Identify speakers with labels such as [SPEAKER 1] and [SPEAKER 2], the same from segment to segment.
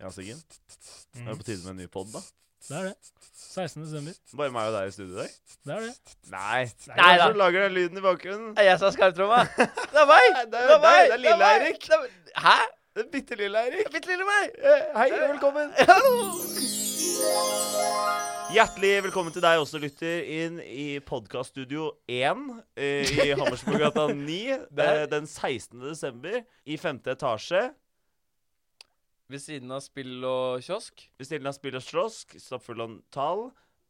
[SPEAKER 1] Ja, Siggen. Er det på tide med en ny pod, da?
[SPEAKER 2] Det er det. 16. desember.
[SPEAKER 1] Bare meg og deg i studio i dag?
[SPEAKER 2] Det er det.
[SPEAKER 1] Nei.
[SPEAKER 2] Nei
[SPEAKER 1] Hvem er det
[SPEAKER 3] da.
[SPEAKER 1] som lager den lyden i bakgrunnen?
[SPEAKER 3] Det er jeg som har skarptromma. Det er meg!
[SPEAKER 1] Det er jo deg, det er lille
[SPEAKER 3] meg,
[SPEAKER 1] Eirik.
[SPEAKER 3] det er- Hæ?
[SPEAKER 1] Det er bitte lille Eirik.
[SPEAKER 3] Bitte lille meg.
[SPEAKER 1] Eh, Hei og velkommen. Hjertelig velkommen til deg også, lytter, inn i podkaststudio 1 eh, i Hammersborggata 9 eh,
[SPEAKER 3] Der.
[SPEAKER 1] den 16. desember i femte etasje.
[SPEAKER 3] Ved siden av spill og kiosk.
[SPEAKER 1] Ved siden av Spill og Slåsk, stappfull av tall,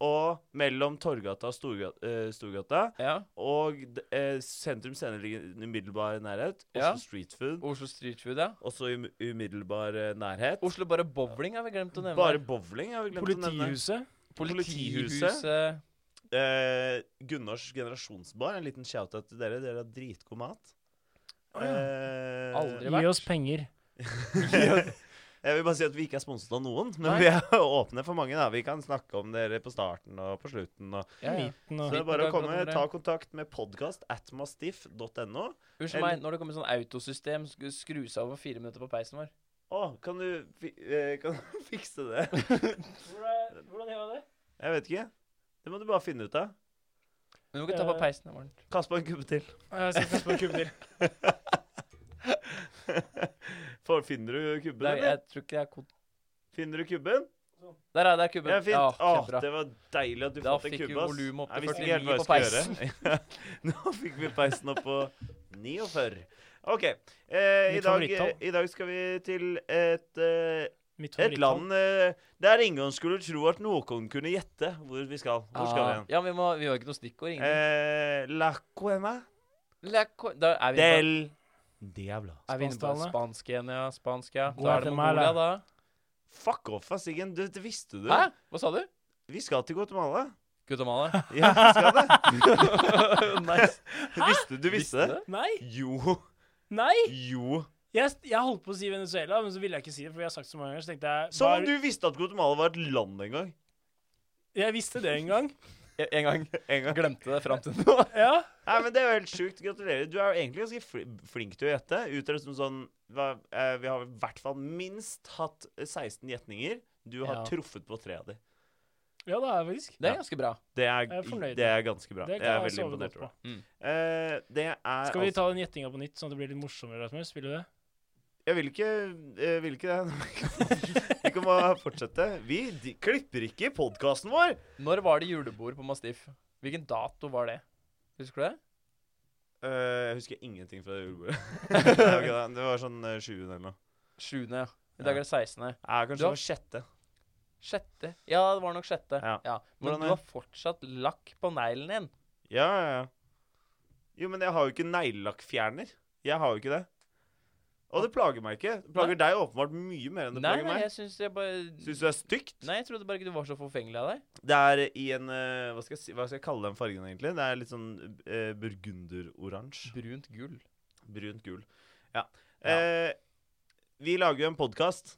[SPEAKER 1] og mellom Torgata og Storgata, eh, Storgata
[SPEAKER 3] Ja.
[SPEAKER 1] og d- eh, sentrum scene ligger i umiddelbar nærhet. Oslo
[SPEAKER 3] Ja.
[SPEAKER 1] Street Food,
[SPEAKER 3] Oslo Street Food, ja.
[SPEAKER 1] også i um- umiddelbar eh, nærhet.
[SPEAKER 3] Oslo Bare Bowling har vi glemt å nevne.
[SPEAKER 1] Bare bowling har vi glemt
[SPEAKER 2] Politihuset.
[SPEAKER 1] Politihuset.
[SPEAKER 3] Politihuset.
[SPEAKER 1] å nevne. Eh, Gunnars generasjonsbar, en liten shout-out til dere. Dere har dritgod mat. Eh,
[SPEAKER 3] Aldri
[SPEAKER 2] Gi oss penger.
[SPEAKER 1] Jeg vil bare si at vi ikke er sponset av noen, men
[SPEAKER 3] Nei.
[SPEAKER 1] vi er åpne for mange. da Vi kan snakke om dere på starten og på slutten. Og
[SPEAKER 3] Ja, ja.
[SPEAKER 2] Midten
[SPEAKER 1] Så
[SPEAKER 2] og
[SPEAKER 1] det er bare å
[SPEAKER 3] Fint,
[SPEAKER 1] komme,
[SPEAKER 3] takk for det.
[SPEAKER 1] ta kontakt med podcast atmastiff.no.
[SPEAKER 3] Unnskyld meg, når det kommer sånn autosystem, sk- skru seg over fire minutter på peisen vår.
[SPEAKER 1] Å, kan du, fi- eh, kan du fikse det?
[SPEAKER 2] Hvordan gjør man det?
[SPEAKER 1] Jeg vet ikke. Det må du bare finne ut av.
[SPEAKER 3] Men du må ikke ta på
[SPEAKER 2] Eh.
[SPEAKER 3] peisen. det er varmt.
[SPEAKER 1] Kast på en kubbe til.
[SPEAKER 2] Jeg skal kaste på en kubbe til.
[SPEAKER 1] For, finner du kubben,
[SPEAKER 3] Der,
[SPEAKER 1] eller?
[SPEAKER 3] jeg tror ikke jeg er kod...
[SPEAKER 1] Finner du kubben?
[SPEAKER 3] Der er, der er kubben.
[SPEAKER 1] Ja, fint.
[SPEAKER 3] Ja,
[SPEAKER 1] Åh,
[SPEAKER 3] kjempebra.
[SPEAKER 1] det var deilig at du
[SPEAKER 3] Da
[SPEAKER 1] fant en
[SPEAKER 3] fikk vi
[SPEAKER 1] kubbe. ass.
[SPEAKER 3] volumet opp
[SPEAKER 1] Jeg
[SPEAKER 3] til
[SPEAKER 1] visste ikke helt
[SPEAKER 3] 49
[SPEAKER 1] hva jeg skulle gjøre. Nå fikk vi peisen opp på 49. OK. Eh, i, dag,
[SPEAKER 2] Mitt
[SPEAKER 1] eh,
[SPEAKER 2] favorittall.
[SPEAKER 1] I dag skal vi til et eh,
[SPEAKER 2] Mitt
[SPEAKER 1] Et
[SPEAKER 2] favorittland.
[SPEAKER 1] land eh, der ingen skulle tro at noen kunne gjette hvor vi skal. Hvor skal vi
[SPEAKER 3] Ah,
[SPEAKER 1] hen?
[SPEAKER 3] Ja, vi, må, vi har ikke noe stikkord. Ingen.
[SPEAKER 1] Eh, la cuema
[SPEAKER 3] La co- Da er vi inne på-
[SPEAKER 1] del diablo.
[SPEAKER 3] er vi inne på
[SPEAKER 2] Spansktalene.
[SPEAKER 3] spansk igjen, ja. Spansk, ja. Da er det
[SPEAKER 2] Guatemala.
[SPEAKER 3] Mongolia, da.
[SPEAKER 1] Fuck off, ass, Siggen. Det, det visste du.
[SPEAKER 3] Hæ? Hva sa du?
[SPEAKER 1] Vi skal til Guatemala.
[SPEAKER 3] Guatemala.
[SPEAKER 1] Ja, vi skal det.
[SPEAKER 3] nice.
[SPEAKER 1] Visste, du visste det?
[SPEAKER 2] Nei!
[SPEAKER 1] Jo.
[SPEAKER 2] Nei!
[SPEAKER 1] Jo.
[SPEAKER 2] Jeg, jeg holdt på å si Venezuela, men så ville jeg ikke si det, for vi har sagt så mange ganger. Så tenkte jeg
[SPEAKER 1] Som
[SPEAKER 2] bare-
[SPEAKER 1] om Sånn du visste at Guatemala var et land en gang.
[SPEAKER 2] Jeg visste det en gang.
[SPEAKER 3] En- En gang
[SPEAKER 1] En gang.
[SPEAKER 3] glemte det fram til nå.
[SPEAKER 2] Ja.
[SPEAKER 1] Nei, men Det er jo helt sjukt. Gratulerer. Du er jo egentlig ganske fli- flink til å gjette. Utredet som sånn hva, eh, Vi har i hvert fall minst hatt 16 gjetninger. Du har
[SPEAKER 2] Ja.
[SPEAKER 1] truffet på tre av de.
[SPEAKER 2] ja, det er jeg faktisk.
[SPEAKER 3] Det
[SPEAKER 1] Ja.
[SPEAKER 3] er ganske bra.
[SPEAKER 1] Det er,
[SPEAKER 2] Jeg er fornøyd.
[SPEAKER 1] det er ganske bra.
[SPEAKER 2] Det
[SPEAKER 1] jeg er
[SPEAKER 2] kan jeg
[SPEAKER 1] veldig
[SPEAKER 2] sove
[SPEAKER 1] imponert
[SPEAKER 2] godt
[SPEAKER 1] over det.
[SPEAKER 3] på. Mm.
[SPEAKER 1] Eh, det er
[SPEAKER 2] Skal vi
[SPEAKER 1] altså-
[SPEAKER 2] ta den gjettinga på nytt, sånn at det blir litt morsommere, Rasmus? Vil du det?
[SPEAKER 1] Jeg vil ikke, jeg vil ikke det. Vi kan bare fortsette. Vi de, klipper ikke podkasten vår!
[SPEAKER 3] Når var det julebord på Mastiff? Hvilken dato var det? Husker du det?
[SPEAKER 1] Eh, jeg husker ingenting fra det julebordet. det var ikke det. Det var sånn eh, 20. eller noe.
[SPEAKER 3] 7. ja. I dag er det 16.
[SPEAKER 1] Ja, kanskje det
[SPEAKER 3] Ja.
[SPEAKER 1] var sjette.
[SPEAKER 3] Sjette. Ja, det var nok sjette.
[SPEAKER 1] Ja.
[SPEAKER 3] Men
[SPEAKER 1] Hvordan
[SPEAKER 3] du
[SPEAKER 1] er-
[SPEAKER 3] har fortsatt lakk på neglen din.
[SPEAKER 1] Ja, ja, ja. Jo, men jeg har jo ikke neglelakkfjerner. Jeg har jo ikke det. Og det plager meg ikke. Det plager deg åpenbart mye mer enn det
[SPEAKER 3] Nei,
[SPEAKER 1] plager
[SPEAKER 3] nei,
[SPEAKER 1] meg.
[SPEAKER 3] jeg syns jeg bare
[SPEAKER 1] Syns du det er stygt?
[SPEAKER 3] Nei, jeg trodde bare ikke du var så forfengelig av deg.
[SPEAKER 1] Det er i en eh, hva, skal jeg si, hva skal jeg kalle den fargen, egentlig? Det er litt sånn eh, burgunderoransje.
[SPEAKER 3] Brunt gull.
[SPEAKER 1] Brunt gul. Ja. Eh, vi lager jo en podkast.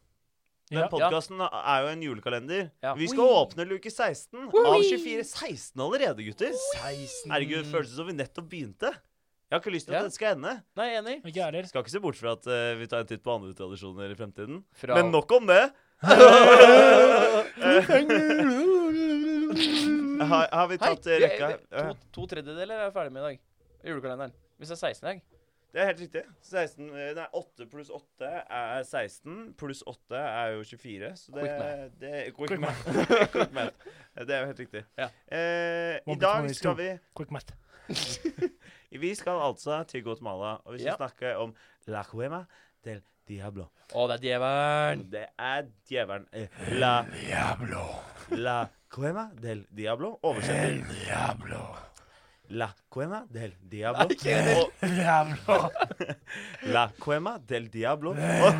[SPEAKER 1] Den
[SPEAKER 2] Ja.
[SPEAKER 1] podkasten er jo en julekalender.
[SPEAKER 3] Ja.
[SPEAKER 1] Vi skal
[SPEAKER 3] Ui.
[SPEAKER 1] åpne luke 16 av 24. 16 allerede, gutter!
[SPEAKER 2] 16.
[SPEAKER 1] Herregud, det føles som vi nettopp begynte. Jeg har ikke lyst til at
[SPEAKER 3] Ja.
[SPEAKER 1] dette skal ende.
[SPEAKER 3] Nei, enig.
[SPEAKER 2] Ikke jeg heller.
[SPEAKER 1] Skal ikke se bort fra at eh, vi tar en titt på andre tradisjoner i fremtiden.
[SPEAKER 3] Fra
[SPEAKER 1] Men nok om det. Eh, har, har vi
[SPEAKER 3] Hei,
[SPEAKER 1] tatt eh,
[SPEAKER 3] vi-
[SPEAKER 1] rekka?
[SPEAKER 3] vi- to, to tredjedeler er ferdig med i dag. Julekalenderen. Hvis det er 16 i dag.
[SPEAKER 1] Det er helt riktig. 16, eh, nei, 8 pluss 8 er 16, pluss 8 er jo 24. Så det,
[SPEAKER 3] Quick math.
[SPEAKER 1] det quick, math. quick math. Det er jo helt riktig.
[SPEAKER 3] Ja.
[SPEAKER 1] Eh, I
[SPEAKER 2] One plus one
[SPEAKER 1] dag
[SPEAKER 2] is
[SPEAKER 1] skal
[SPEAKER 2] two.
[SPEAKER 1] vi
[SPEAKER 2] Quick math.
[SPEAKER 1] Vi skal altså til Guatemala, og vi skal
[SPEAKER 3] Ja.
[SPEAKER 1] snakke om La Cuema del Diablo.
[SPEAKER 3] Å, det er djevelen.
[SPEAKER 1] Det er djevelen eh, La Diablo. La Cuema del Diablo. Oversetter. La Cuema del Diablo. Og La Cuema del Diablo.
[SPEAKER 2] Eh.
[SPEAKER 1] Og-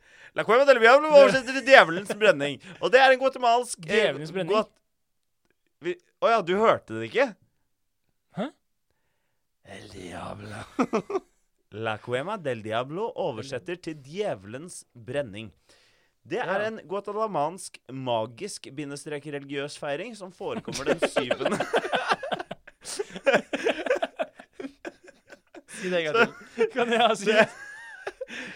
[SPEAKER 1] La Cuema del Diablo oversetter til Djevelens brenning. Og det er en guatemalsk eh,
[SPEAKER 2] Djevelens brenning?
[SPEAKER 1] guat- Vi- Å ja, du hørte det ikke?
[SPEAKER 2] Hæ?
[SPEAKER 1] El Diablo. La Cuema del Diablo oversetter til Djevelens brenning. Det er
[SPEAKER 3] Ja.
[SPEAKER 1] en guatalamansk magisk bindestrek religiøs feiring som forekommer den syvende
[SPEAKER 3] Si det en gang til.
[SPEAKER 2] Kan jeg si
[SPEAKER 1] Det-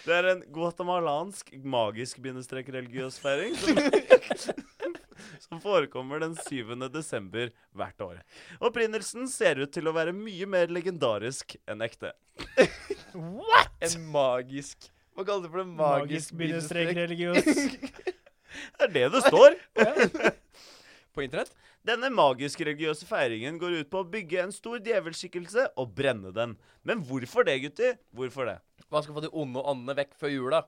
[SPEAKER 1] Det er en guatemalansk magisk-religiøs feiring som, som forekommer den 7. desember hvert år. Opprinnelsen ser ut til å være mye mer legendarisk enn ekte.
[SPEAKER 2] What?!
[SPEAKER 3] En magisk Hva kaller du for det?
[SPEAKER 2] Magisk bindestrek religiøs.
[SPEAKER 1] Det er det det står.
[SPEAKER 3] På internett?
[SPEAKER 1] Denne magisk-religiøse feiringen går ut på å bygge en stor djevelskikkelse og brenne den. Men hvorfor det, gutter? Hvorfor det?
[SPEAKER 3] Man skal få de onde åndene vekk før jula.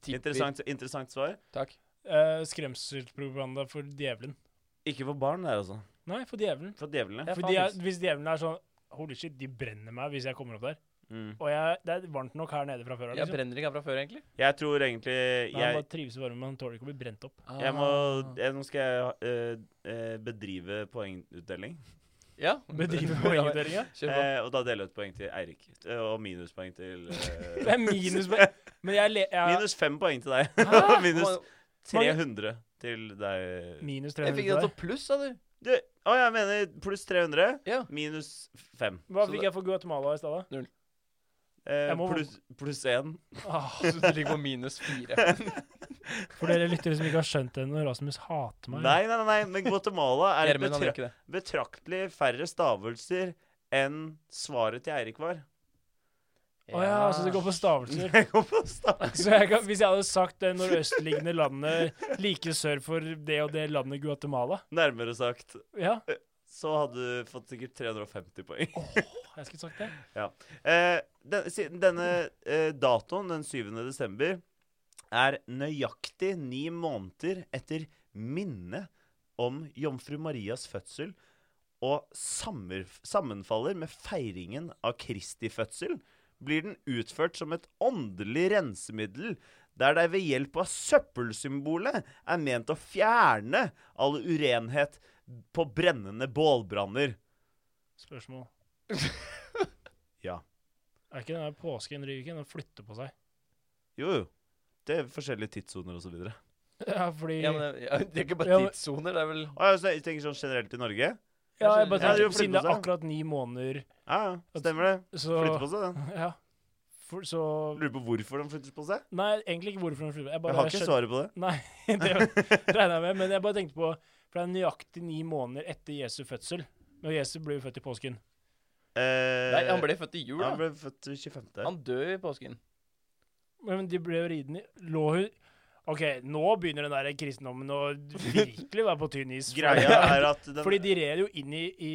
[SPEAKER 3] Tipper.
[SPEAKER 1] Interessant, interessant svar.
[SPEAKER 3] Takk.
[SPEAKER 2] Eh, Skremselspropaganda for djevelen.
[SPEAKER 1] Ikke for barn der, altså.
[SPEAKER 2] Nei, for djevelen.
[SPEAKER 1] For djevlene.
[SPEAKER 3] Ja,
[SPEAKER 2] For
[SPEAKER 3] faen,
[SPEAKER 2] de er,
[SPEAKER 3] Nils.
[SPEAKER 2] hvis djevelen er sånn Holy shit, de brenner meg hvis jeg kommer opp der.
[SPEAKER 1] Mm.
[SPEAKER 2] Og jeg, det er varmt nok her nede fra før av.
[SPEAKER 3] Jeg
[SPEAKER 2] Liksom.
[SPEAKER 3] brenner ikke her fra før, egentlig.
[SPEAKER 1] Jeg tror egentlig
[SPEAKER 2] Nei, Han
[SPEAKER 1] jeg,
[SPEAKER 2] bare trives i varmen, men han tåler ikke å bli brent opp.
[SPEAKER 1] jeg må
[SPEAKER 3] Ah.
[SPEAKER 1] jeg, Nå skal jeg eh, eh, bedrive poengutdeling.
[SPEAKER 3] Ja.
[SPEAKER 2] Bedriver poengutdelinga.
[SPEAKER 3] Kjør på.
[SPEAKER 1] Eh, og da deler jeg ut poeng til Eirik. Eh, og minuspoeng til eh,
[SPEAKER 2] Det er minus Men jeg, le, jeg
[SPEAKER 1] Minus fem poeng til deg.
[SPEAKER 3] Hæ?
[SPEAKER 1] Minus
[SPEAKER 3] Hva-
[SPEAKER 1] 300 til deg.
[SPEAKER 2] Minus
[SPEAKER 3] Jeg
[SPEAKER 2] 300
[SPEAKER 3] fikk det
[SPEAKER 2] der.
[SPEAKER 3] til pluss, sa du.
[SPEAKER 1] Du, å, jeg mener pluss 300.
[SPEAKER 3] Ja.
[SPEAKER 1] Minus 5.
[SPEAKER 2] Hva
[SPEAKER 3] Så
[SPEAKER 2] fikk
[SPEAKER 3] det-
[SPEAKER 2] jeg for Guatemala i stad, da?
[SPEAKER 1] Eh,
[SPEAKER 2] Jeg må-
[SPEAKER 1] pluss pluss 1.
[SPEAKER 2] Ah,
[SPEAKER 3] Så du ligger på minus fire.
[SPEAKER 2] for dere lyttere som ikke har skjønt det ennå, Rasmus hater meg.
[SPEAKER 1] Nei, nei, nei, nei, men Guatemala er
[SPEAKER 3] Gjermund, han gjør
[SPEAKER 1] betra
[SPEAKER 3] ikke det.
[SPEAKER 1] betraktelig færre stavelser enn svaret til Eirik var.
[SPEAKER 2] Å ja, så det går på stavelser.
[SPEAKER 1] Jeg går på stav-
[SPEAKER 2] Så jeg kan, hvis jeg hadde sagt det nordøstliggende landet like sør for det og det landet Guatemala
[SPEAKER 1] Nærmere sagt.
[SPEAKER 2] Ja,
[SPEAKER 1] Så hadde du fått sikkert 350 poeng.
[SPEAKER 2] jeg skulle sagt det.
[SPEAKER 1] Eh, den, siden denne eh, datoen, den 7. desember, er nøyaktig ni måneder etter minnet om jomfru Marias fødsel og sammer, sammenfaller med feiringen av Kristi fødsel, blir den utført som et åndelig rensemiddel, der det ved hjelp av søppelsymbolet er ment å fjerne all urenhet på brennende bålbranner.
[SPEAKER 2] Spørsmål.
[SPEAKER 1] Ja.
[SPEAKER 2] Er ikke den der påsken driver ikke den og flytter på seg?
[SPEAKER 1] Jo, jo. Det er forskjellige tidssoner og så videre.
[SPEAKER 2] Ja, fordi
[SPEAKER 3] Ja, men det- ja, det er ikke
[SPEAKER 2] Ja,
[SPEAKER 3] bare
[SPEAKER 2] men-
[SPEAKER 3] tidssoner, det er vel
[SPEAKER 1] Å, ja, så jeg tenker sånn generelt i Norge?
[SPEAKER 2] Ja, jeg bare
[SPEAKER 3] Ja,
[SPEAKER 1] det er jo
[SPEAKER 2] tenker,
[SPEAKER 1] flytte
[SPEAKER 2] Siden det
[SPEAKER 1] på
[SPEAKER 2] er
[SPEAKER 1] seg.
[SPEAKER 2] akkurat ni måneder,
[SPEAKER 1] Ja, ja. Stemmer det.
[SPEAKER 2] så
[SPEAKER 1] Flytter på seg, den.
[SPEAKER 2] Ja. For, så
[SPEAKER 1] Lurer på hvorfor den flytter på seg.
[SPEAKER 2] Nei, egentlig ikke hvorfor den flytter på seg.
[SPEAKER 1] Jeg har ikke svaret på det.
[SPEAKER 2] Nei, det regner jeg med. Men jeg bare tenkte på For det er nøyaktig ni måneder etter Jesu fødsel. Når Jesu ble født i påsken.
[SPEAKER 1] Eh,
[SPEAKER 3] Nei, han ble født i jul,
[SPEAKER 1] han
[SPEAKER 3] da.
[SPEAKER 1] ble født 25.
[SPEAKER 3] Han dør i påsken.
[SPEAKER 2] Men de ble jo ridende i Lå hun OK, nå begynner den der kristendommen å virkelig være på tynn is. for-
[SPEAKER 1] Greia er at den
[SPEAKER 2] Fordi de red jo inn i, i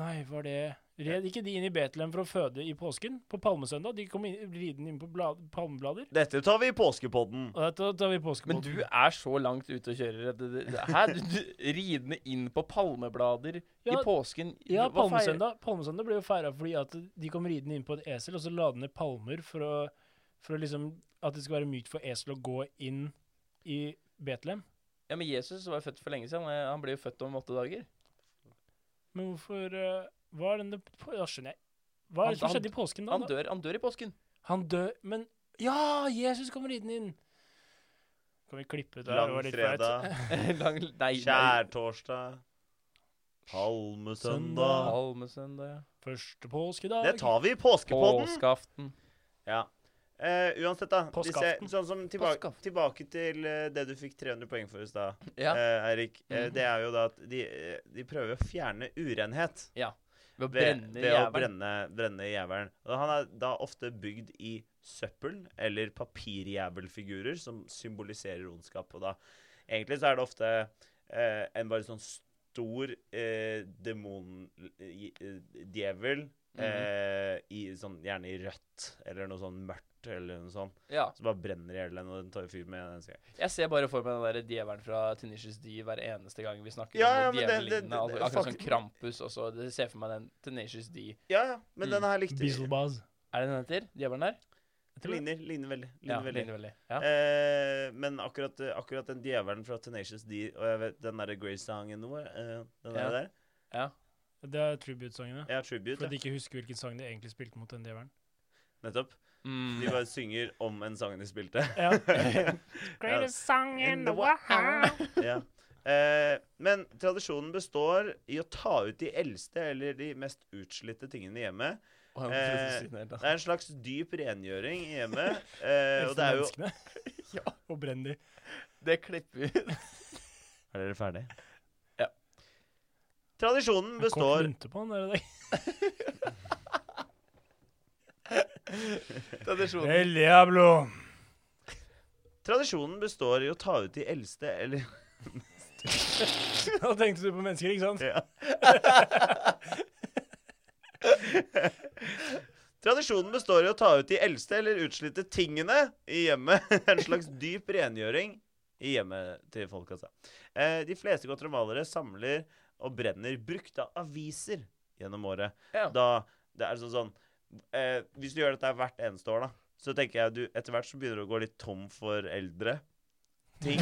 [SPEAKER 2] Nei, var det Red ikke de inn i Betlehem for å føde i påsken? På palmesøndag? De kom inn, ridende inn på blad, palmeblader.
[SPEAKER 1] Dette tar vi i påskepodden.
[SPEAKER 2] Og dette tar vi
[SPEAKER 3] Men
[SPEAKER 2] påskebåten.
[SPEAKER 3] du er så langt ute å kjøre. at det- det- Hæ? Du- du- Ridende inn på palmeblader i
[SPEAKER 2] Ja,
[SPEAKER 3] påsken?
[SPEAKER 2] Ja,
[SPEAKER 3] Hva feirer-
[SPEAKER 2] palmesøndag, palmesøndag ble jo feira fordi at de kom ridende inn på et esel, og så la de ned palmer for å, for å liksom At det skal være mykt for esel å gå inn i Betlehem.
[SPEAKER 3] Ja, men Jesus var født for lenge siden. Han han ble jo født om åtte dager.
[SPEAKER 2] Men hvorfor eh, Hva er denne på- Da skjønner jeg. Hva
[SPEAKER 3] Han-
[SPEAKER 2] er det som
[SPEAKER 3] han-
[SPEAKER 2] skjedde i påsken da?
[SPEAKER 3] Han
[SPEAKER 2] da?
[SPEAKER 3] dør, han dør i påsken.
[SPEAKER 2] Han dør Men ja, Jesus kommer ridende inn! Kan vi klippe ut det? her? Det var litt flaut.
[SPEAKER 1] Langfredag,
[SPEAKER 3] Lang, nei, nei.
[SPEAKER 1] skjærtorsdag, palmesøndag
[SPEAKER 3] Palmesøndag. ja.
[SPEAKER 2] Første påskedag.
[SPEAKER 1] Det tar vi i påskepodden.
[SPEAKER 3] Påskeaften.
[SPEAKER 1] Ja. Eh, uansett, da. Disse,
[SPEAKER 2] Påskeaften.
[SPEAKER 1] sånn som tilbake,
[SPEAKER 3] Påskeaften.
[SPEAKER 1] tilbake til eh, det du fikk 300 poeng for i stad,
[SPEAKER 3] Ja,
[SPEAKER 1] eh, Eirik. Eh,
[SPEAKER 3] Mhm.
[SPEAKER 1] det er jo da at de, eh, de prøver å fjerne urenhet.
[SPEAKER 3] ved å
[SPEAKER 1] ved,
[SPEAKER 3] brenne
[SPEAKER 1] ved å
[SPEAKER 3] jævelen.
[SPEAKER 1] brenne, brenne jævelen. Og han er da ofte bygd i søppel eller papirjævelfigurer som symboliserer ondskap. Og da egentlig så er det ofte eh, en bare sånn stor eh, demondjevel
[SPEAKER 3] Mhm.
[SPEAKER 1] eh, i sånn gjerne i rødt eller noe sånn mørkt eller noe sånt.
[SPEAKER 3] Ja.
[SPEAKER 1] Så bare brenner i hjel den, og den tar jo fyr med en gang.
[SPEAKER 3] Jeg ser bare for meg den der djevelen fra Tenacious D hver eneste gang vi snakker
[SPEAKER 1] Ja, ja,
[SPEAKER 3] om noe
[SPEAKER 1] men det- det-
[SPEAKER 3] djevellignende. Altså,
[SPEAKER 1] det-
[SPEAKER 3] akkurat som
[SPEAKER 1] fuck.
[SPEAKER 3] Krampus også. Det ser for meg den Tenacious D.
[SPEAKER 1] Ja, ja, men
[SPEAKER 3] Mm.
[SPEAKER 1] denne her likte jeg.
[SPEAKER 2] Beelzebubs.
[SPEAKER 3] Er det den heter? Djevelen der?
[SPEAKER 1] Ligner, ligner veldig. Ligner
[SPEAKER 3] Ja,
[SPEAKER 1] veldig.
[SPEAKER 3] ligner veldig. Ja.
[SPEAKER 1] Eh, men akkurat, akkurat den djevelen fra Tenacious D og jeg vet, den derre Grey Song and War, eh, den
[SPEAKER 3] Ja.
[SPEAKER 1] der der
[SPEAKER 3] ja.
[SPEAKER 2] Det er tribute-sangene.
[SPEAKER 1] Ja, Tribute.
[SPEAKER 2] For at
[SPEAKER 1] Ja.
[SPEAKER 2] de ikke husker hvilken sang de egentlig spilte mot den djevelen.
[SPEAKER 1] Nettopp.
[SPEAKER 3] Mm.
[SPEAKER 1] De bare synger om en sang de spilte.
[SPEAKER 2] Ja.
[SPEAKER 1] Greatest
[SPEAKER 2] song
[SPEAKER 1] in the ja. eh, men tradisjonen består i å ta ut de eldste eller de mest utslitte tingene i hjemmet.
[SPEAKER 3] Og han trodde du skulle si den helt,
[SPEAKER 1] Det
[SPEAKER 3] altså.
[SPEAKER 1] er en slags dyp rengjøring i hjemmet. Eh, og det er jo
[SPEAKER 2] menneskene.
[SPEAKER 3] Ja.
[SPEAKER 2] Og brenn de.
[SPEAKER 3] Det klipper vi
[SPEAKER 1] Er
[SPEAKER 3] ut.
[SPEAKER 1] dere ferdig?
[SPEAKER 3] Ja.
[SPEAKER 1] Tradisjonen
[SPEAKER 2] Kort
[SPEAKER 1] består
[SPEAKER 2] lunte på han der i dag.
[SPEAKER 3] Tradisjonen.
[SPEAKER 2] El diablo!
[SPEAKER 1] Tradisjonen består i å ta ut de eldste eller
[SPEAKER 2] Da tenkte du på mennesker, ikke sant?
[SPEAKER 1] ja. Tradisjonen består i å ta ut de eldste eller utslitte tingene i hjemmet. En slags dyp rengjøring i hjemmet til folk, altså. Eh, de fleste guatemalere samler og brenner brukte aviser gjennom året.
[SPEAKER 3] Ja.
[SPEAKER 1] Da det er sånn sånn eh, Hvis du gjør dette hvert eneste år, da, så tenker jeg du etter hvert så begynner du å gå litt tom for eldre. Ting.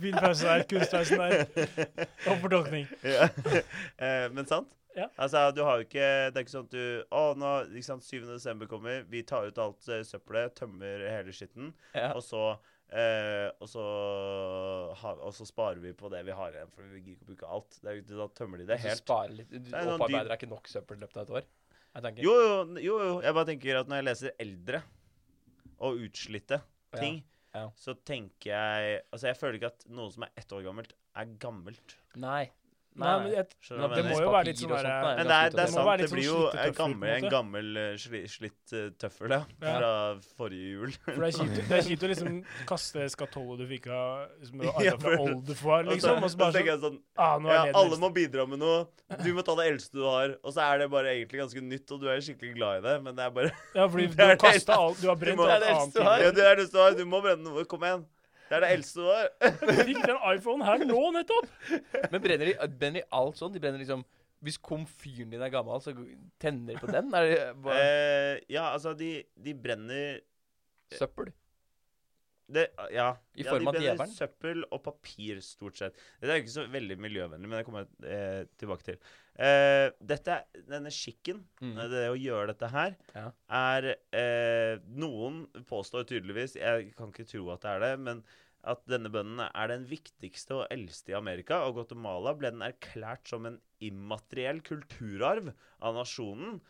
[SPEAKER 2] Fin pause der. Kunstpausen der. Og fortolkning.
[SPEAKER 1] Ja. eh, men sant?
[SPEAKER 2] Ja.
[SPEAKER 1] Altså, du har jo ikke Det er ikke sånn at du Å, nå ikke sant, 7. desember kommer, vi tar ut alt eh, søppelet, tømmer hele skitten,
[SPEAKER 3] Ja.
[SPEAKER 1] og så eh, og, så har- og så sparer vi på det vi har igjen, for vi gidder ikke å bruke alt. Det er, jo ikke- da tømmer de det
[SPEAKER 3] Så
[SPEAKER 1] helt.
[SPEAKER 3] sparer litt. Du
[SPEAKER 1] er sånn
[SPEAKER 3] opparbeider deg ikke nok søppel i løpet av et år. Jeg tenker.
[SPEAKER 1] Jo, jo, jo, jo. Jeg bare tenker at når jeg leser eldre og utslitte ting,
[SPEAKER 3] Ja, ja.
[SPEAKER 1] så tenker jeg Altså, jeg føler ikke at noe som er ett år gammelt, er gammelt.
[SPEAKER 3] Nei.
[SPEAKER 2] Nei, men jeg,
[SPEAKER 1] Skjønner du hva
[SPEAKER 2] det
[SPEAKER 1] jeg
[SPEAKER 2] må
[SPEAKER 1] mener?
[SPEAKER 2] jo være litt
[SPEAKER 3] Papir
[SPEAKER 2] sånn
[SPEAKER 3] og
[SPEAKER 2] derre
[SPEAKER 3] sånt, nei.
[SPEAKER 1] Men det er, det
[SPEAKER 2] Det
[SPEAKER 1] er
[SPEAKER 2] må
[SPEAKER 1] sant,
[SPEAKER 2] være
[SPEAKER 1] det
[SPEAKER 2] litt
[SPEAKER 1] blir jo
[SPEAKER 2] sånn
[SPEAKER 1] en
[SPEAKER 2] slittetøffel, på en
[SPEAKER 1] gammel, en
[SPEAKER 2] måte.
[SPEAKER 1] gammel eh, sli, slitt eh, tøffel, ja.
[SPEAKER 2] Ja.
[SPEAKER 1] Fra forrige jul.
[SPEAKER 2] For det er kjipt, det er kjipt å liksom kaste skatollet du fikk av liksom,
[SPEAKER 1] Ja,
[SPEAKER 2] arva
[SPEAKER 1] for-
[SPEAKER 2] fra oldefar,
[SPEAKER 1] Og så-
[SPEAKER 2] liksom. Og så bare
[SPEAKER 1] tenker jeg
[SPEAKER 2] sånn
[SPEAKER 1] sånn
[SPEAKER 2] ah, nå
[SPEAKER 1] ja,
[SPEAKER 2] er det
[SPEAKER 1] Alle
[SPEAKER 2] den
[SPEAKER 1] må bidra med noe. Du må ta det eldste du har. Og så er det bare egentlig ganske nytt, og du er skikkelig glad i det, men det er bare
[SPEAKER 2] Ja, fordi
[SPEAKER 1] Det
[SPEAKER 2] du
[SPEAKER 1] er
[SPEAKER 2] har
[SPEAKER 1] det
[SPEAKER 2] kastet
[SPEAKER 1] eldste-
[SPEAKER 2] alt. Du har brent
[SPEAKER 1] må-
[SPEAKER 2] alt
[SPEAKER 3] Det er det
[SPEAKER 2] annet.
[SPEAKER 3] eldste du har.
[SPEAKER 2] inni.
[SPEAKER 1] ja, Det er det du har. Du må brenne noe. Kom igjen. Det er det eldste du har.
[SPEAKER 2] Du fikk den iPhonen her nå, nettopp!
[SPEAKER 3] Men brenner de, brenner de alt sånn? De brenner liksom Hvis komfyren din er gammel, så tenner de på den? Er det bare
[SPEAKER 1] Eh, ja, altså, de, de brenner
[SPEAKER 3] søppel?
[SPEAKER 1] det, Eh, ja.
[SPEAKER 3] I
[SPEAKER 1] ja,
[SPEAKER 3] form av
[SPEAKER 1] de brenner
[SPEAKER 3] djevelen?
[SPEAKER 1] søppel og papir, stort sett. Dette er jo ikke så veldig miljøvennlig, men det kommer jeg eh, tilbake til. Eh, dette, er- denne skikken,
[SPEAKER 3] Mm.
[SPEAKER 1] eh, det å gjøre dette her,
[SPEAKER 3] Ja.
[SPEAKER 1] er eh, Noen påstår tydeligvis, jeg kan ikke tro at det er det, men at denne bønnen er den viktigste og eldste i Amerika, og Guatemala ble den erklært som en immateriell kulturarv av nasjonen.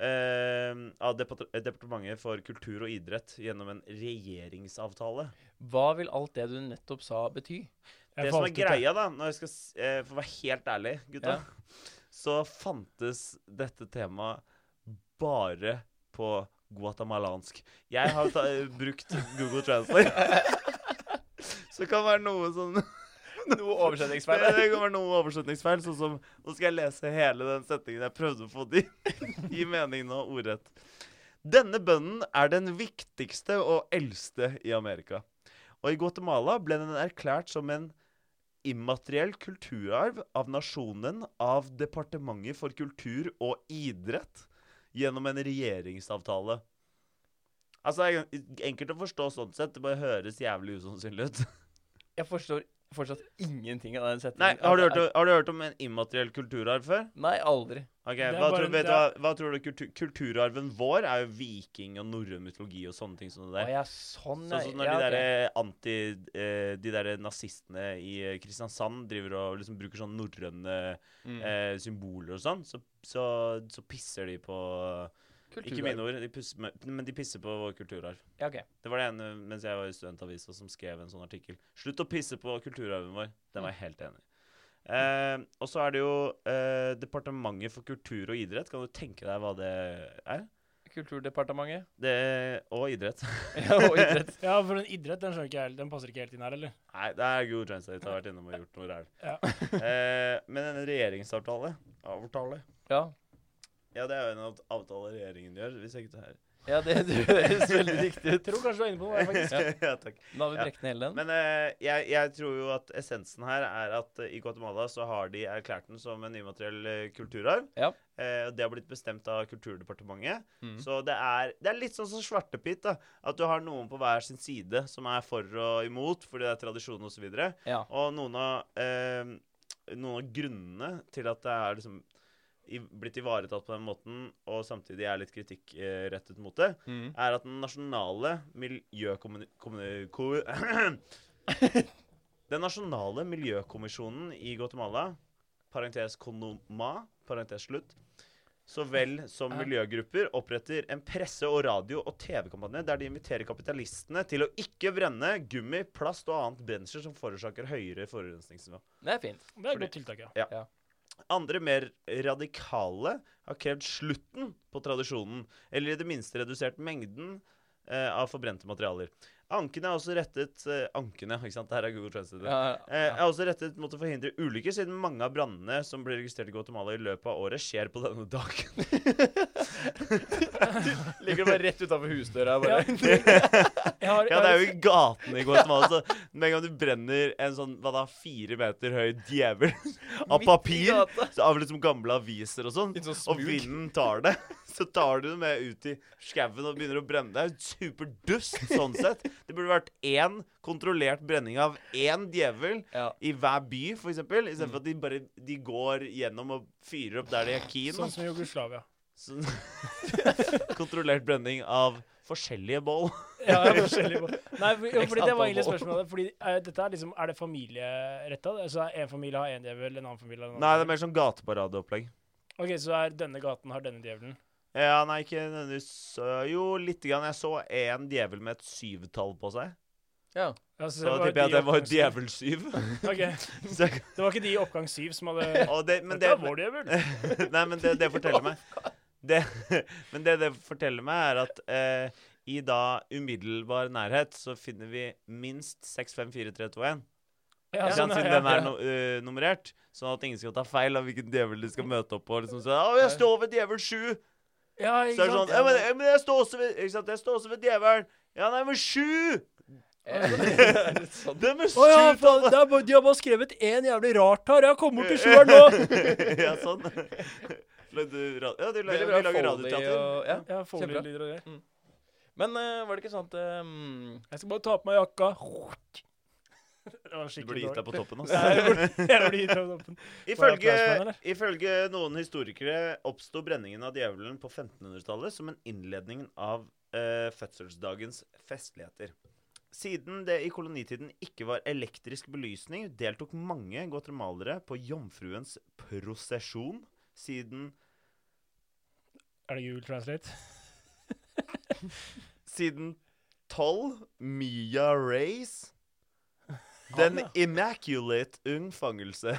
[SPEAKER 1] eh, av Depart- Departementet for kultur og idrett gjennom en regjeringsavtale.
[SPEAKER 3] Hva vil alt det du nettopp sa, bety?
[SPEAKER 2] Jeg
[SPEAKER 1] Det som er
[SPEAKER 2] falt ut, jeg.
[SPEAKER 1] greia, da, når jeg skal, s- eh, for å være helt ærlig, gutta,
[SPEAKER 3] Ja.
[SPEAKER 1] så fantes dette temaet bare på guatemalansk. Jeg har ta, brukt Google Translate. så det kan være noe sånn- som
[SPEAKER 3] Noe
[SPEAKER 1] det,
[SPEAKER 3] oversettingsfeil.
[SPEAKER 1] det kan være noe oversetningsfeil. Sånn som Nå skal jeg lese hele den setningen jeg prøvde å få de i meningen og ordrett. Denne bønnen er den viktigste og eldste i Amerika. Og i Guatemala ble den erklært som en immateriell kulturarv av nasjonen av Departementet for kultur og idrett gjennom en regjeringsavtale. Altså, det er Enkelt å forstå sånn sett. Det bare høres jævlig usannsynlig ut.
[SPEAKER 3] Jeg forstår fortsatt ingenting av den setningen.
[SPEAKER 1] Nei, har du, hørt,
[SPEAKER 3] det?
[SPEAKER 1] om- har du hørt om en immateriell kulturarv før?
[SPEAKER 3] Nei, aldri.
[SPEAKER 1] Ok,
[SPEAKER 2] er
[SPEAKER 1] hva
[SPEAKER 2] bare
[SPEAKER 1] tror,
[SPEAKER 2] en-
[SPEAKER 1] vet du,
[SPEAKER 2] det
[SPEAKER 1] hva,
[SPEAKER 2] er-
[SPEAKER 1] hva tror du kultur, Kulturarven vår er jo viking og norrøn mytologi og sånne ting som det
[SPEAKER 3] Å
[SPEAKER 1] der.
[SPEAKER 3] ja, sånn,
[SPEAKER 1] Sånn
[SPEAKER 3] ja.
[SPEAKER 1] som når
[SPEAKER 3] ja,
[SPEAKER 1] de
[SPEAKER 3] ok.
[SPEAKER 1] der eh, anti... Eh, de der nazistene i eh, Kristiansand driver og liksom bruker sånn norrøne
[SPEAKER 3] Mm.
[SPEAKER 1] eh, symboler og sånn, så, så, så pisser de på Ikke mine ord, de pusser, med- men de pisser på vår kulturarv.
[SPEAKER 3] Mm. Ja, ok.
[SPEAKER 1] Det var det ene mens jeg var i studentavisa som skrev en sånn artikkel. Slutt å pisse på kulturarven vår. Den var jeg helt enig i. Eh, og så er det jo eh, Departementet for kultur og idrett. Kan du tenke deg hva det er?
[SPEAKER 3] Kulturdepartementet.
[SPEAKER 1] Det, og idrett.
[SPEAKER 3] Ja, og idrett.
[SPEAKER 2] Ja, for en idrett, den skjønner ikke jeg helt. Den passer ikke helt inn her, eller?
[SPEAKER 1] Nei, det er Google Translate har vært innom og gjort noe ræl.
[SPEAKER 2] Ja.
[SPEAKER 1] Eh, men en regjeringsavtale Avtale?
[SPEAKER 3] Ja.
[SPEAKER 1] Ja, det er jo en av- avtale regjeringen gjør, hvis jeg ikke tar her.
[SPEAKER 3] ja, det det høres veldig riktig
[SPEAKER 2] Jeg
[SPEAKER 3] ut.
[SPEAKER 2] tror kanskje du er inne på noe, jeg, faktisk.
[SPEAKER 1] ja, takk.
[SPEAKER 3] Nå har vi
[SPEAKER 1] Ja.
[SPEAKER 3] brekt ned hele den.
[SPEAKER 1] Men eh, jeg, jeg tror jo at essensen her er at eh, i Guatemala så har de erklært den som en immateriell eh, kulturarv.
[SPEAKER 3] Ja.
[SPEAKER 1] Eh, og det har blitt bestemt av Kulturdepartementet.
[SPEAKER 3] Mm.
[SPEAKER 1] Så det er, det er litt sånn som svartepitt. da, At du har noen på hver sin side som er for og imot fordi det er tradisjon osv. Og, så videre.
[SPEAKER 3] Ja.
[SPEAKER 1] og noen av, eh, noen av grunnene til at det er liksom i, blitt ivaretatt på den måten, og samtidig er litt kritikk eh, rettet mot det,
[SPEAKER 3] Mm.
[SPEAKER 1] er at den nasjonale miljøkommuni... Den nasjonale miljøkommisjonen i Guatemala, parentes konoma, parentes slutt, så vel som
[SPEAKER 3] Ja.
[SPEAKER 1] miljøgrupper oppretter en presse- og radio- og TV-kampanje der de inviterer kapitalistene til å ikke brenne gummi, plast og annet brensel som forårsaker høyere forurensningsnivå.
[SPEAKER 3] Det er fint.
[SPEAKER 2] Det er et
[SPEAKER 1] Fordi-
[SPEAKER 2] godt tiltak, ja.
[SPEAKER 1] Andre mer radikale har krevd slutten på tradisjonen, eller i det minste redusert mengden eh, av forbrente materialer. Ankene er også rettet eh, Ankene, ikke sant? Det her er Google Translate.
[SPEAKER 3] Ja,
[SPEAKER 1] Eh,
[SPEAKER 3] ja.
[SPEAKER 1] er også rettet mot å forhindre ulykker, siden mange av brannene som blir registrert i Guatemala i løpet av året, skjer på denne dagen.
[SPEAKER 3] Ligger det bare rett utafor husdøra.
[SPEAKER 2] Ja,
[SPEAKER 3] Bare.
[SPEAKER 2] jeg har,
[SPEAKER 1] Ja, det er jo i gatene i Guatemala, så med en gang du brenner en sånn hva da, fire meter høy djevel av
[SPEAKER 3] Midt i
[SPEAKER 1] papir,
[SPEAKER 3] gata.
[SPEAKER 1] så av liksom gamle aviser og sånn,
[SPEAKER 3] Litt sånn
[SPEAKER 1] og
[SPEAKER 3] smug.
[SPEAKER 1] vinden tar det, så tar du det med ut i skauen og begynner å brenne. Det er jo superdust sånn sett. Det burde vært én kontrollert brenning av én djevel
[SPEAKER 3] Ja.
[SPEAKER 1] i hver by, for eksempel. Istedenfor at de bare de går gjennom og fyrer opp der de er keen. da.
[SPEAKER 2] Sånn som i Jugoslavia.
[SPEAKER 1] Sånn. Kontrollert brenning av forskjellige bål.
[SPEAKER 2] Ja, ja, forskjellig på. Nei, for, jo,
[SPEAKER 3] X
[SPEAKER 2] fordi det var
[SPEAKER 3] antall
[SPEAKER 2] egentlig
[SPEAKER 3] mål.
[SPEAKER 2] spørsmålet. Fordi eh, dette Er liksom, er det familieretta? Så er en familie har én djevel, en annen familie har en
[SPEAKER 1] Nei, det er
[SPEAKER 2] annen?
[SPEAKER 1] mer sånn gateparadeopplegg.
[SPEAKER 2] djevel? Ok, Så er denne gaten har denne djevelen?
[SPEAKER 1] Ja, nei, ikke nødvendigvis øh, Jo, lite grann. Jeg så en djevel med et syvtall på seg.
[SPEAKER 3] Ja.
[SPEAKER 2] Ja, så
[SPEAKER 1] Så da
[SPEAKER 2] var
[SPEAKER 1] tipper jeg
[SPEAKER 2] de
[SPEAKER 1] at det var
[SPEAKER 2] oppgang syv.
[SPEAKER 1] djevelsyv.
[SPEAKER 2] Ok,
[SPEAKER 1] Så jeg-
[SPEAKER 2] Det var ikke de i oppgang syv som hadde
[SPEAKER 1] Og det, men det,
[SPEAKER 2] Dette er vår djevel.
[SPEAKER 1] nei, men det, det forteller meg det, Men det det forteller meg, er at eh, i da umiddelbar nærhet så finner vi minst 6, 5, 4, 3, 2, 1.
[SPEAKER 2] Ja,
[SPEAKER 1] Ikke sant?
[SPEAKER 2] sånn,
[SPEAKER 1] Siden
[SPEAKER 2] ja,
[SPEAKER 1] den er no øh, nummerert, sånn at ingen skal ta feil av hvilken djevel de skal møte opp på. Liksom, så, «Å, jeg står ved djevel 7! Så
[SPEAKER 2] ja, ikke
[SPEAKER 1] er det sånn,
[SPEAKER 2] sant?
[SPEAKER 1] ja, men, ja, men jeg står også ved, ikke sant? Jeg står også ved djevelen! Ja, nei, men 7!
[SPEAKER 3] Er det sånn?
[SPEAKER 1] Dem er 7!
[SPEAKER 2] Å ja, faen,
[SPEAKER 1] tallet.
[SPEAKER 2] det er bare- de har bare skrevet én jævlig rart her. Jeg kommer til sjueren nå.
[SPEAKER 1] ja, sånn. Lagde ra- Ja, de
[SPEAKER 3] Veldig
[SPEAKER 1] lager,
[SPEAKER 3] bra
[SPEAKER 1] vi lager
[SPEAKER 3] Foley
[SPEAKER 1] radioteater.
[SPEAKER 3] og- ja.
[SPEAKER 2] Ja, får
[SPEAKER 3] Kjempebra.
[SPEAKER 2] litt lyder og greier.
[SPEAKER 3] Men eh, var det ikke sånn at ehm,
[SPEAKER 2] Jeg skal bare ta på meg jakka. Det var
[SPEAKER 1] Du
[SPEAKER 2] skikkelig
[SPEAKER 1] blir gitt deg
[SPEAKER 2] dårlig.
[SPEAKER 1] på toppen,
[SPEAKER 2] Nei, jeg
[SPEAKER 1] altså.
[SPEAKER 2] burde- jeg burde gitt deg på toppen.
[SPEAKER 1] Ifølge,
[SPEAKER 2] applaus for den,
[SPEAKER 1] ifølge noen historikere oppsto brenningen av djevelen på 1500-tallet som en innledning av eh, fødselsdagens festligheter. Siden det i kolonitiden ikke var elektrisk belysning, deltok mange guatemalere på jomfruens prosesjon siden
[SPEAKER 2] Er det Google Translate?
[SPEAKER 1] Siden 12 Mia Race Den immaculate unnfangelse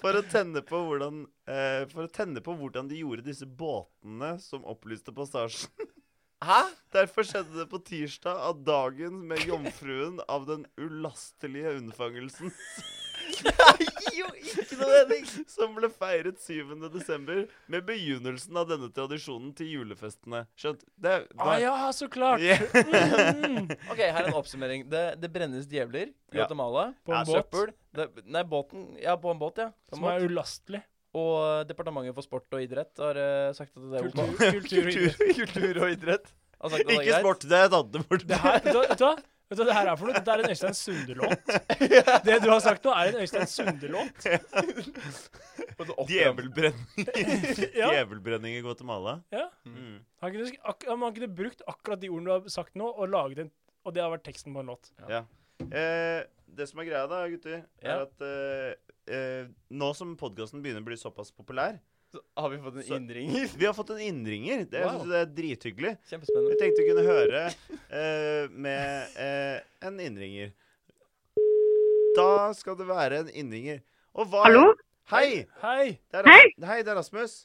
[SPEAKER 1] for, å tenne på hvordan, eh, for å tenne på hvordan de gjorde disse båtene som opplyste passasjen.
[SPEAKER 3] Hæ?
[SPEAKER 1] Derfor skjedde det på tirsdag av dagen med jomfruen av den ulastelige unnfangelsen
[SPEAKER 3] Jo, ikke
[SPEAKER 1] som ble feiret 7. desember med begynnelsen av denne tradisjonen til julefestene. Skjønt? Det, er-
[SPEAKER 2] Å Ah, ja, så klart!
[SPEAKER 1] Ja.
[SPEAKER 2] Mm.
[SPEAKER 3] OK, her er en oppsummering. Det, det brennes djevler i
[SPEAKER 1] Ja.
[SPEAKER 3] Guatemala.
[SPEAKER 2] På en
[SPEAKER 1] Ja,
[SPEAKER 2] båt
[SPEAKER 3] Søppel. Det, nei, båten. Ja, på en båt, ja. På en
[SPEAKER 2] som er
[SPEAKER 3] båt.
[SPEAKER 2] ulastelig.
[SPEAKER 3] Og eh, Departementet for sport og idrett har eh, sagt at det er
[SPEAKER 2] Kultur,
[SPEAKER 3] ok.
[SPEAKER 2] kultur og idrett.
[SPEAKER 3] Kultur og idrett. Har sagt at det er
[SPEAKER 1] Ikke
[SPEAKER 3] greit.
[SPEAKER 1] sport, det er et annet ord.
[SPEAKER 2] Det her, vet, du, hva- vet, du, hva- vet du hva det her er for noe? Dette er en Øystein Sunde-låt. Det du har sagt nå, er en Øystein Sunde-låt.
[SPEAKER 3] Og så opp-
[SPEAKER 1] Djevelbrenning.
[SPEAKER 2] Ja,
[SPEAKER 1] Djevelbrenning i Guatemala.
[SPEAKER 2] ja.
[SPEAKER 1] Mm.
[SPEAKER 2] Han kunne, sk- ak om han kunne brukt akkurat de ordene du har sagt nå, og laget en og det har vært teksten på en låt.
[SPEAKER 1] Ja. Eh, det som er greia, da, gutter, er
[SPEAKER 3] Ja.
[SPEAKER 1] at eh, eh, nå som podkasten begynner å bli såpass populær
[SPEAKER 3] Så har vi fått en
[SPEAKER 1] Så-
[SPEAKER 3] innringer.
[SPEAKER 1] Vi har fått en innringer. Det, jeg
[SPEAKER 3] Wow.
[SPEAKER 1] synes det er drithyggelig. Vi
[SPEAKER 3] Kjempespennende.
[SPEAKER 1] tenkte vi kunne høre eh, med eh, en innringer. Da skal det være en innringer. Og hva
[SPEAKER 4] Hallo?
[SPEAKER 1] Hei!
[SPEAKER 2] Hei!
[SPEAKER 1] Det er,
[SPEAKER 4] Hei!
[SPEAKER 1] Hei, det er Rasmus.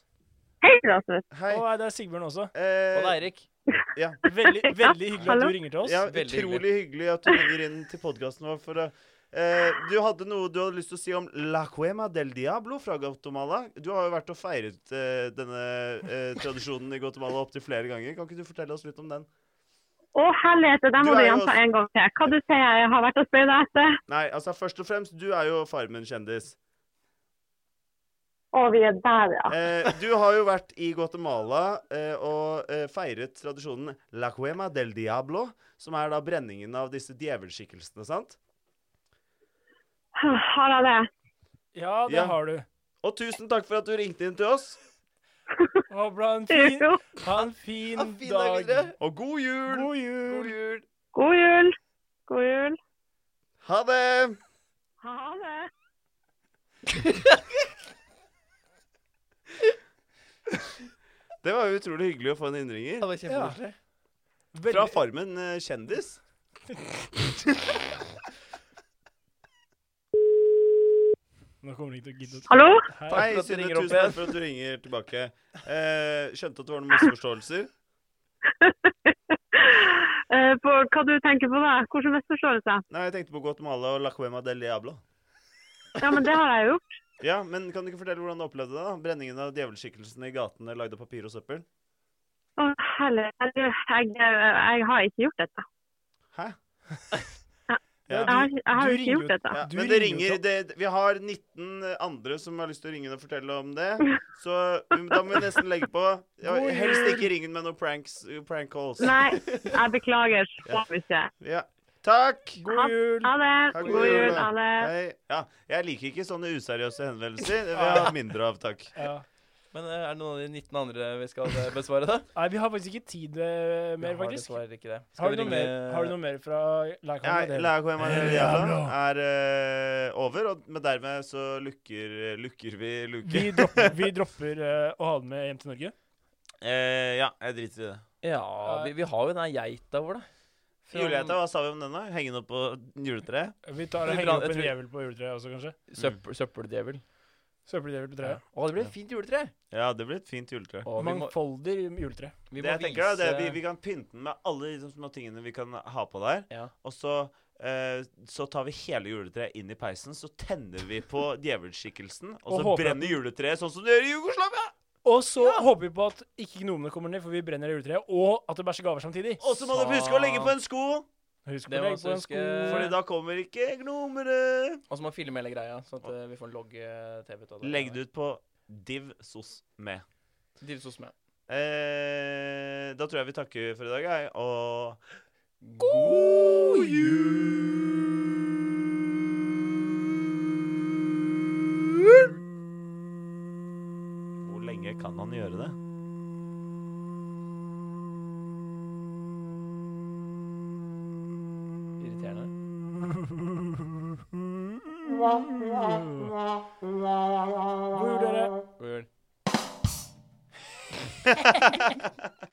[SPEAKER 4] Hei, Rasmus.
[SPEAKER 1] Hei.
[SPEAKER 2] Og hei, det er Sigbjørn også.
[SPEAKER 1] Eh,
[SPEAKER 3] Og det er Eirik.
[SPEAKER 2] Veldig, veldig hyggelig at
[SPEAKER 4] hallo.
[SPEAKER 2] du ringer til oss.
[SPEAKER 1] Ja,
[SPEAKER 3] Veldig
[SPEAKER 1] utrolig hyggelig at du ringer inn til podkasten vår. For, å- eh, du hadde noe du hadde lyst til å si om La Cuema del Diablo fra Guatemala. Du har jo vært og feiret eh, denne eh, tradisjonen i Guatemala opptil flere ganger. Kan ikke du fortelle oss litt om den?
[SPEAKER 4] Å, herlighet, det må
[SPEAKER 1] Du
[SPEAKER 4] du
[SPEAKER 1] er jo
[SPEAKER 4] gjenta
[SPEAKER 1] også-
[SPEAKER 4] en gang til. Hva du sier jeg har vært og spøyd deg etter?
[SPEAKER 1] Nei, altså først og fremst, du er jo Farmen-kjendis.
[SPEAKER 4] Å, vi er der, ja.
[SPEAKER 1] Eh, du har jo vært i Guatemala eh, og eh, feiret tradisjonen La Cuema del Diablo, som er da brenningen av disse djevelskikkelsene, sant?
[SPEAKER 4] Har jeg det?
[SPEAKER 2] Ja, det
[SPEAKER 1] Ja.
[SPEAKER 2] har du.
[SPEAKER 1] Og tusen takk for at du ringte inn til oss,
[SPEAKER 2] Håper du har en fin,
[SPEAKER 4] Jo.
[SPEAKER 2] ha en fin,
[SPEAKER 3] Ha en fin dag
[SPEAKER 2] dag.
[SPEAKER 3] videre.
[SPEAKER 1] og god jul!
[SPEAKER 2] God jul!
[SPEAKER 3] God jul.
[SPEAKER 4] God jul. God jul.
[SPEAKER 1] Ha det!
[SPEAKER 4] Ha det.
[SPEAKER 1] Det var jo utrolig hyggelig å få en innringer.
[SPEAKER 3] Det var kjempekoselig.
[SPEAKER 1] Fra Farmen eh, kjendis.
[SPEAKER 2] Nå kommer de ikke til å gidde å
[SPEAKER 4] Hallo?
[SPEAKER 2] Hei.
[SPEAKER 3] Takk
[SPEAKER 1] Hei,
[SPEAKER 3] for at du
[SPEAKER 1] Synne.
[SPEAKER 3] ringer opp
[SPEAKER 1] Tusen takk
[SPEAKER 3] igjen.
[SPEAKER 1] for at du ringer tilbake. Eh, skjønte at det var noen misforståelser.
[SPEAKER 4] Eh, på hva du tenker på da? Hvordan misforståelse?
[SPEAKER 1] Nei, jeg tenkte på Guatemala og La Cuema del Diablo.
[SPEAKER 4] Ja, men det har jeg gjort.
[SPEAKER 1] Ja, men Kan du ikke fortelle hvordan du opplevde det? da? Brenningen av djevelskikkelsene i gatene lagd av papir og søppel?
[SPEAKER 4] Å, heller, jeg, jeg, jeg har ikke gjort dette.
[SPEAKER 1] Hæ?
[SPEAKER 2] Ja,
[SPEAKER 4] Jeg har, jeg
[SPEAKER 2] du
[SPEAKER 4] har
[SPEAKER 2] ringer
[SPEAKER 4] ikke gjort
[SPEAKER 2] jo-
[SPEAKER 4] dette.
[SPEAKER 1] Ja,
[SPEAKER 2] Du
[SPEAKER 1] men det
[SPEAKER 2] ringer jo
[SPEAKER 1] ringer det, Vi har 19 andre som har lyst til å ringe og fortelle om det. Så um, da må vi nesten legge på. Ja,
[SPEAKER 2] God
[SPEAKER 1] Helst
[SPEAKER 2] jul.
[SPEAKER 1] ikke ring den med noen pranks, prank calls.
[SPEAKER 4] Nei, jeg beklager. Får vi ikke.
[SPEAKER 1] Ja. Takk!
[SPEAKER 2] God jul!
[SPEAKER 4] Ha det.
[SPEAKER 1] Ha god
[SPEAKER 4] God
[SPEAKER 1] jul,
[SPEAKER 4] jul.
[SPEAKER 1] da.
[SPEAKER 4] Ha det.
[SPEAKER 1] Hei. Ja, jeg liker ikke sånne useriøse henvendelser. Det vil jeg ha mindre av, takk.
[SPEAKER 2] Ja.
[SPEAKER 3] Men eh, er det noen av de 19 andre vi skal eh, besvare, da?
[SPEAKER 2] Nei, vi har faktisk ikke tid eh,
[SPEAKER 3] Vi
[SPEAKER 2] mer,
[SPEAKER 3] har
[SPEAKER 2] faktisk.
[SPEAKER 3] dessverre ikke det. Skal
[SPEAKER 2] Har
[SPEAKER 3] vi
[SPEAKER 2] du noe
[SPEAKER 3] ringe-
[SPEAKER 2] mer, har du noe mer fra La
[SPEAKER 1] Ja,
[SPEAKER 2] Cama?
[SPEAKER 1] La Coema del
[SPEAKER 2] Ja,
[SPEAKER 1] Diablo
[SPEAKER 2] bra.
[SPEAKER 1] er eh, over, og med dermed så lukker, lukker vi luke.
[SPEAKER 2] Vi dropper, vi dropper eh, å ha den med hjem til Norge.
[SPEAKER 1] Eh, ja, jeg driter i det.
[SPEAKER 3] Ja, vi, vi har jo den her geita vår, da. Fra-
[SPEAKER 1] Julieta, hva sa vi om den, da? Hengende opp på juletreet?
[SPEAKER 2] Vi tar
[SPEAKER 3] Vi
[SPEAKER 2] og henger
[SPEAKER 3] bra-
[SPEAKER 2] opp
[SPEAKER 3] jeg
[SPEAKER 2] en
[SPEAKER 3] tror-
[SPEAKER 2] djevel på juletreet også, kanskje.
[SPEAKER 3] Søppel, søppeldjevel.
[SPEAKER 2] Søppeldjevel på treet.
[SPEAKER 3] Å, det blir et fint juletre!
[SPEAKER 1] Ja, det blir et fint juletre.
[SPEAKER 3] Å, vi må,
[SPEAKER 2] Mangfoldig juletre.
[SPEAKER 3] vi
[SPEAKER 1] det
[SPEAKER 3] må
[SPEAKER 1] jeg tenker da, det er, vi,
[SPEAKER 3] vise-
[SPEAKER 1] vi kan pynte den med alle de liksom, små tingene vi kan ha på der.
[SPEAKER 3] Ja.
[SPEAKER 1] Og så, eh, så tar vi hele juletreet inn i peisen, så tenner vi på djevelskikkelsen, og,
[SPEAKER 2] Og
[SPEAKER 1] så
[SPEAKER 2] håper at
[SPEAKER 1] brenner juletreet sånn som du gjør i Jugoslavia!
[SPEAKER 2] Og så håper vi på at ikke gnomene kommer ned, for vi brenner det juletreet, og at det bæsjer gaver samtidig.
[SPEAKER 1] Og så må du huske å legge på en sko,
[SPEAKER 2] Husk
[SPEAKER 3] Det
[SPEAKER 2] å
[SPEAKER 3] må
[SPEAKER 2] legge
[SPEAKER 3] også
[SPEAKER 2] på en
[SPEAKER 3] huske-
[SPEAKER 2] sko.
[SPEAKER 1] Fordi da kommer ikke gnomere.
[SPEAKER 3] Og så må vi filme hele greia, sånn at eh, vi får en logg-TV.
[SPEAKER 1] Legg det ut på div sos med.
[SPEAKER 3] Divsos med.
[SPEAKER 1] Eh, da tror jeg vi takker for i dag, jeg, og God jul! Hvor lenge kan han gjøre det?
[SPEAKER 3] Irriterende.
[SPEAKER 2] God jul, dere.
[SPEAKER 3] God jul.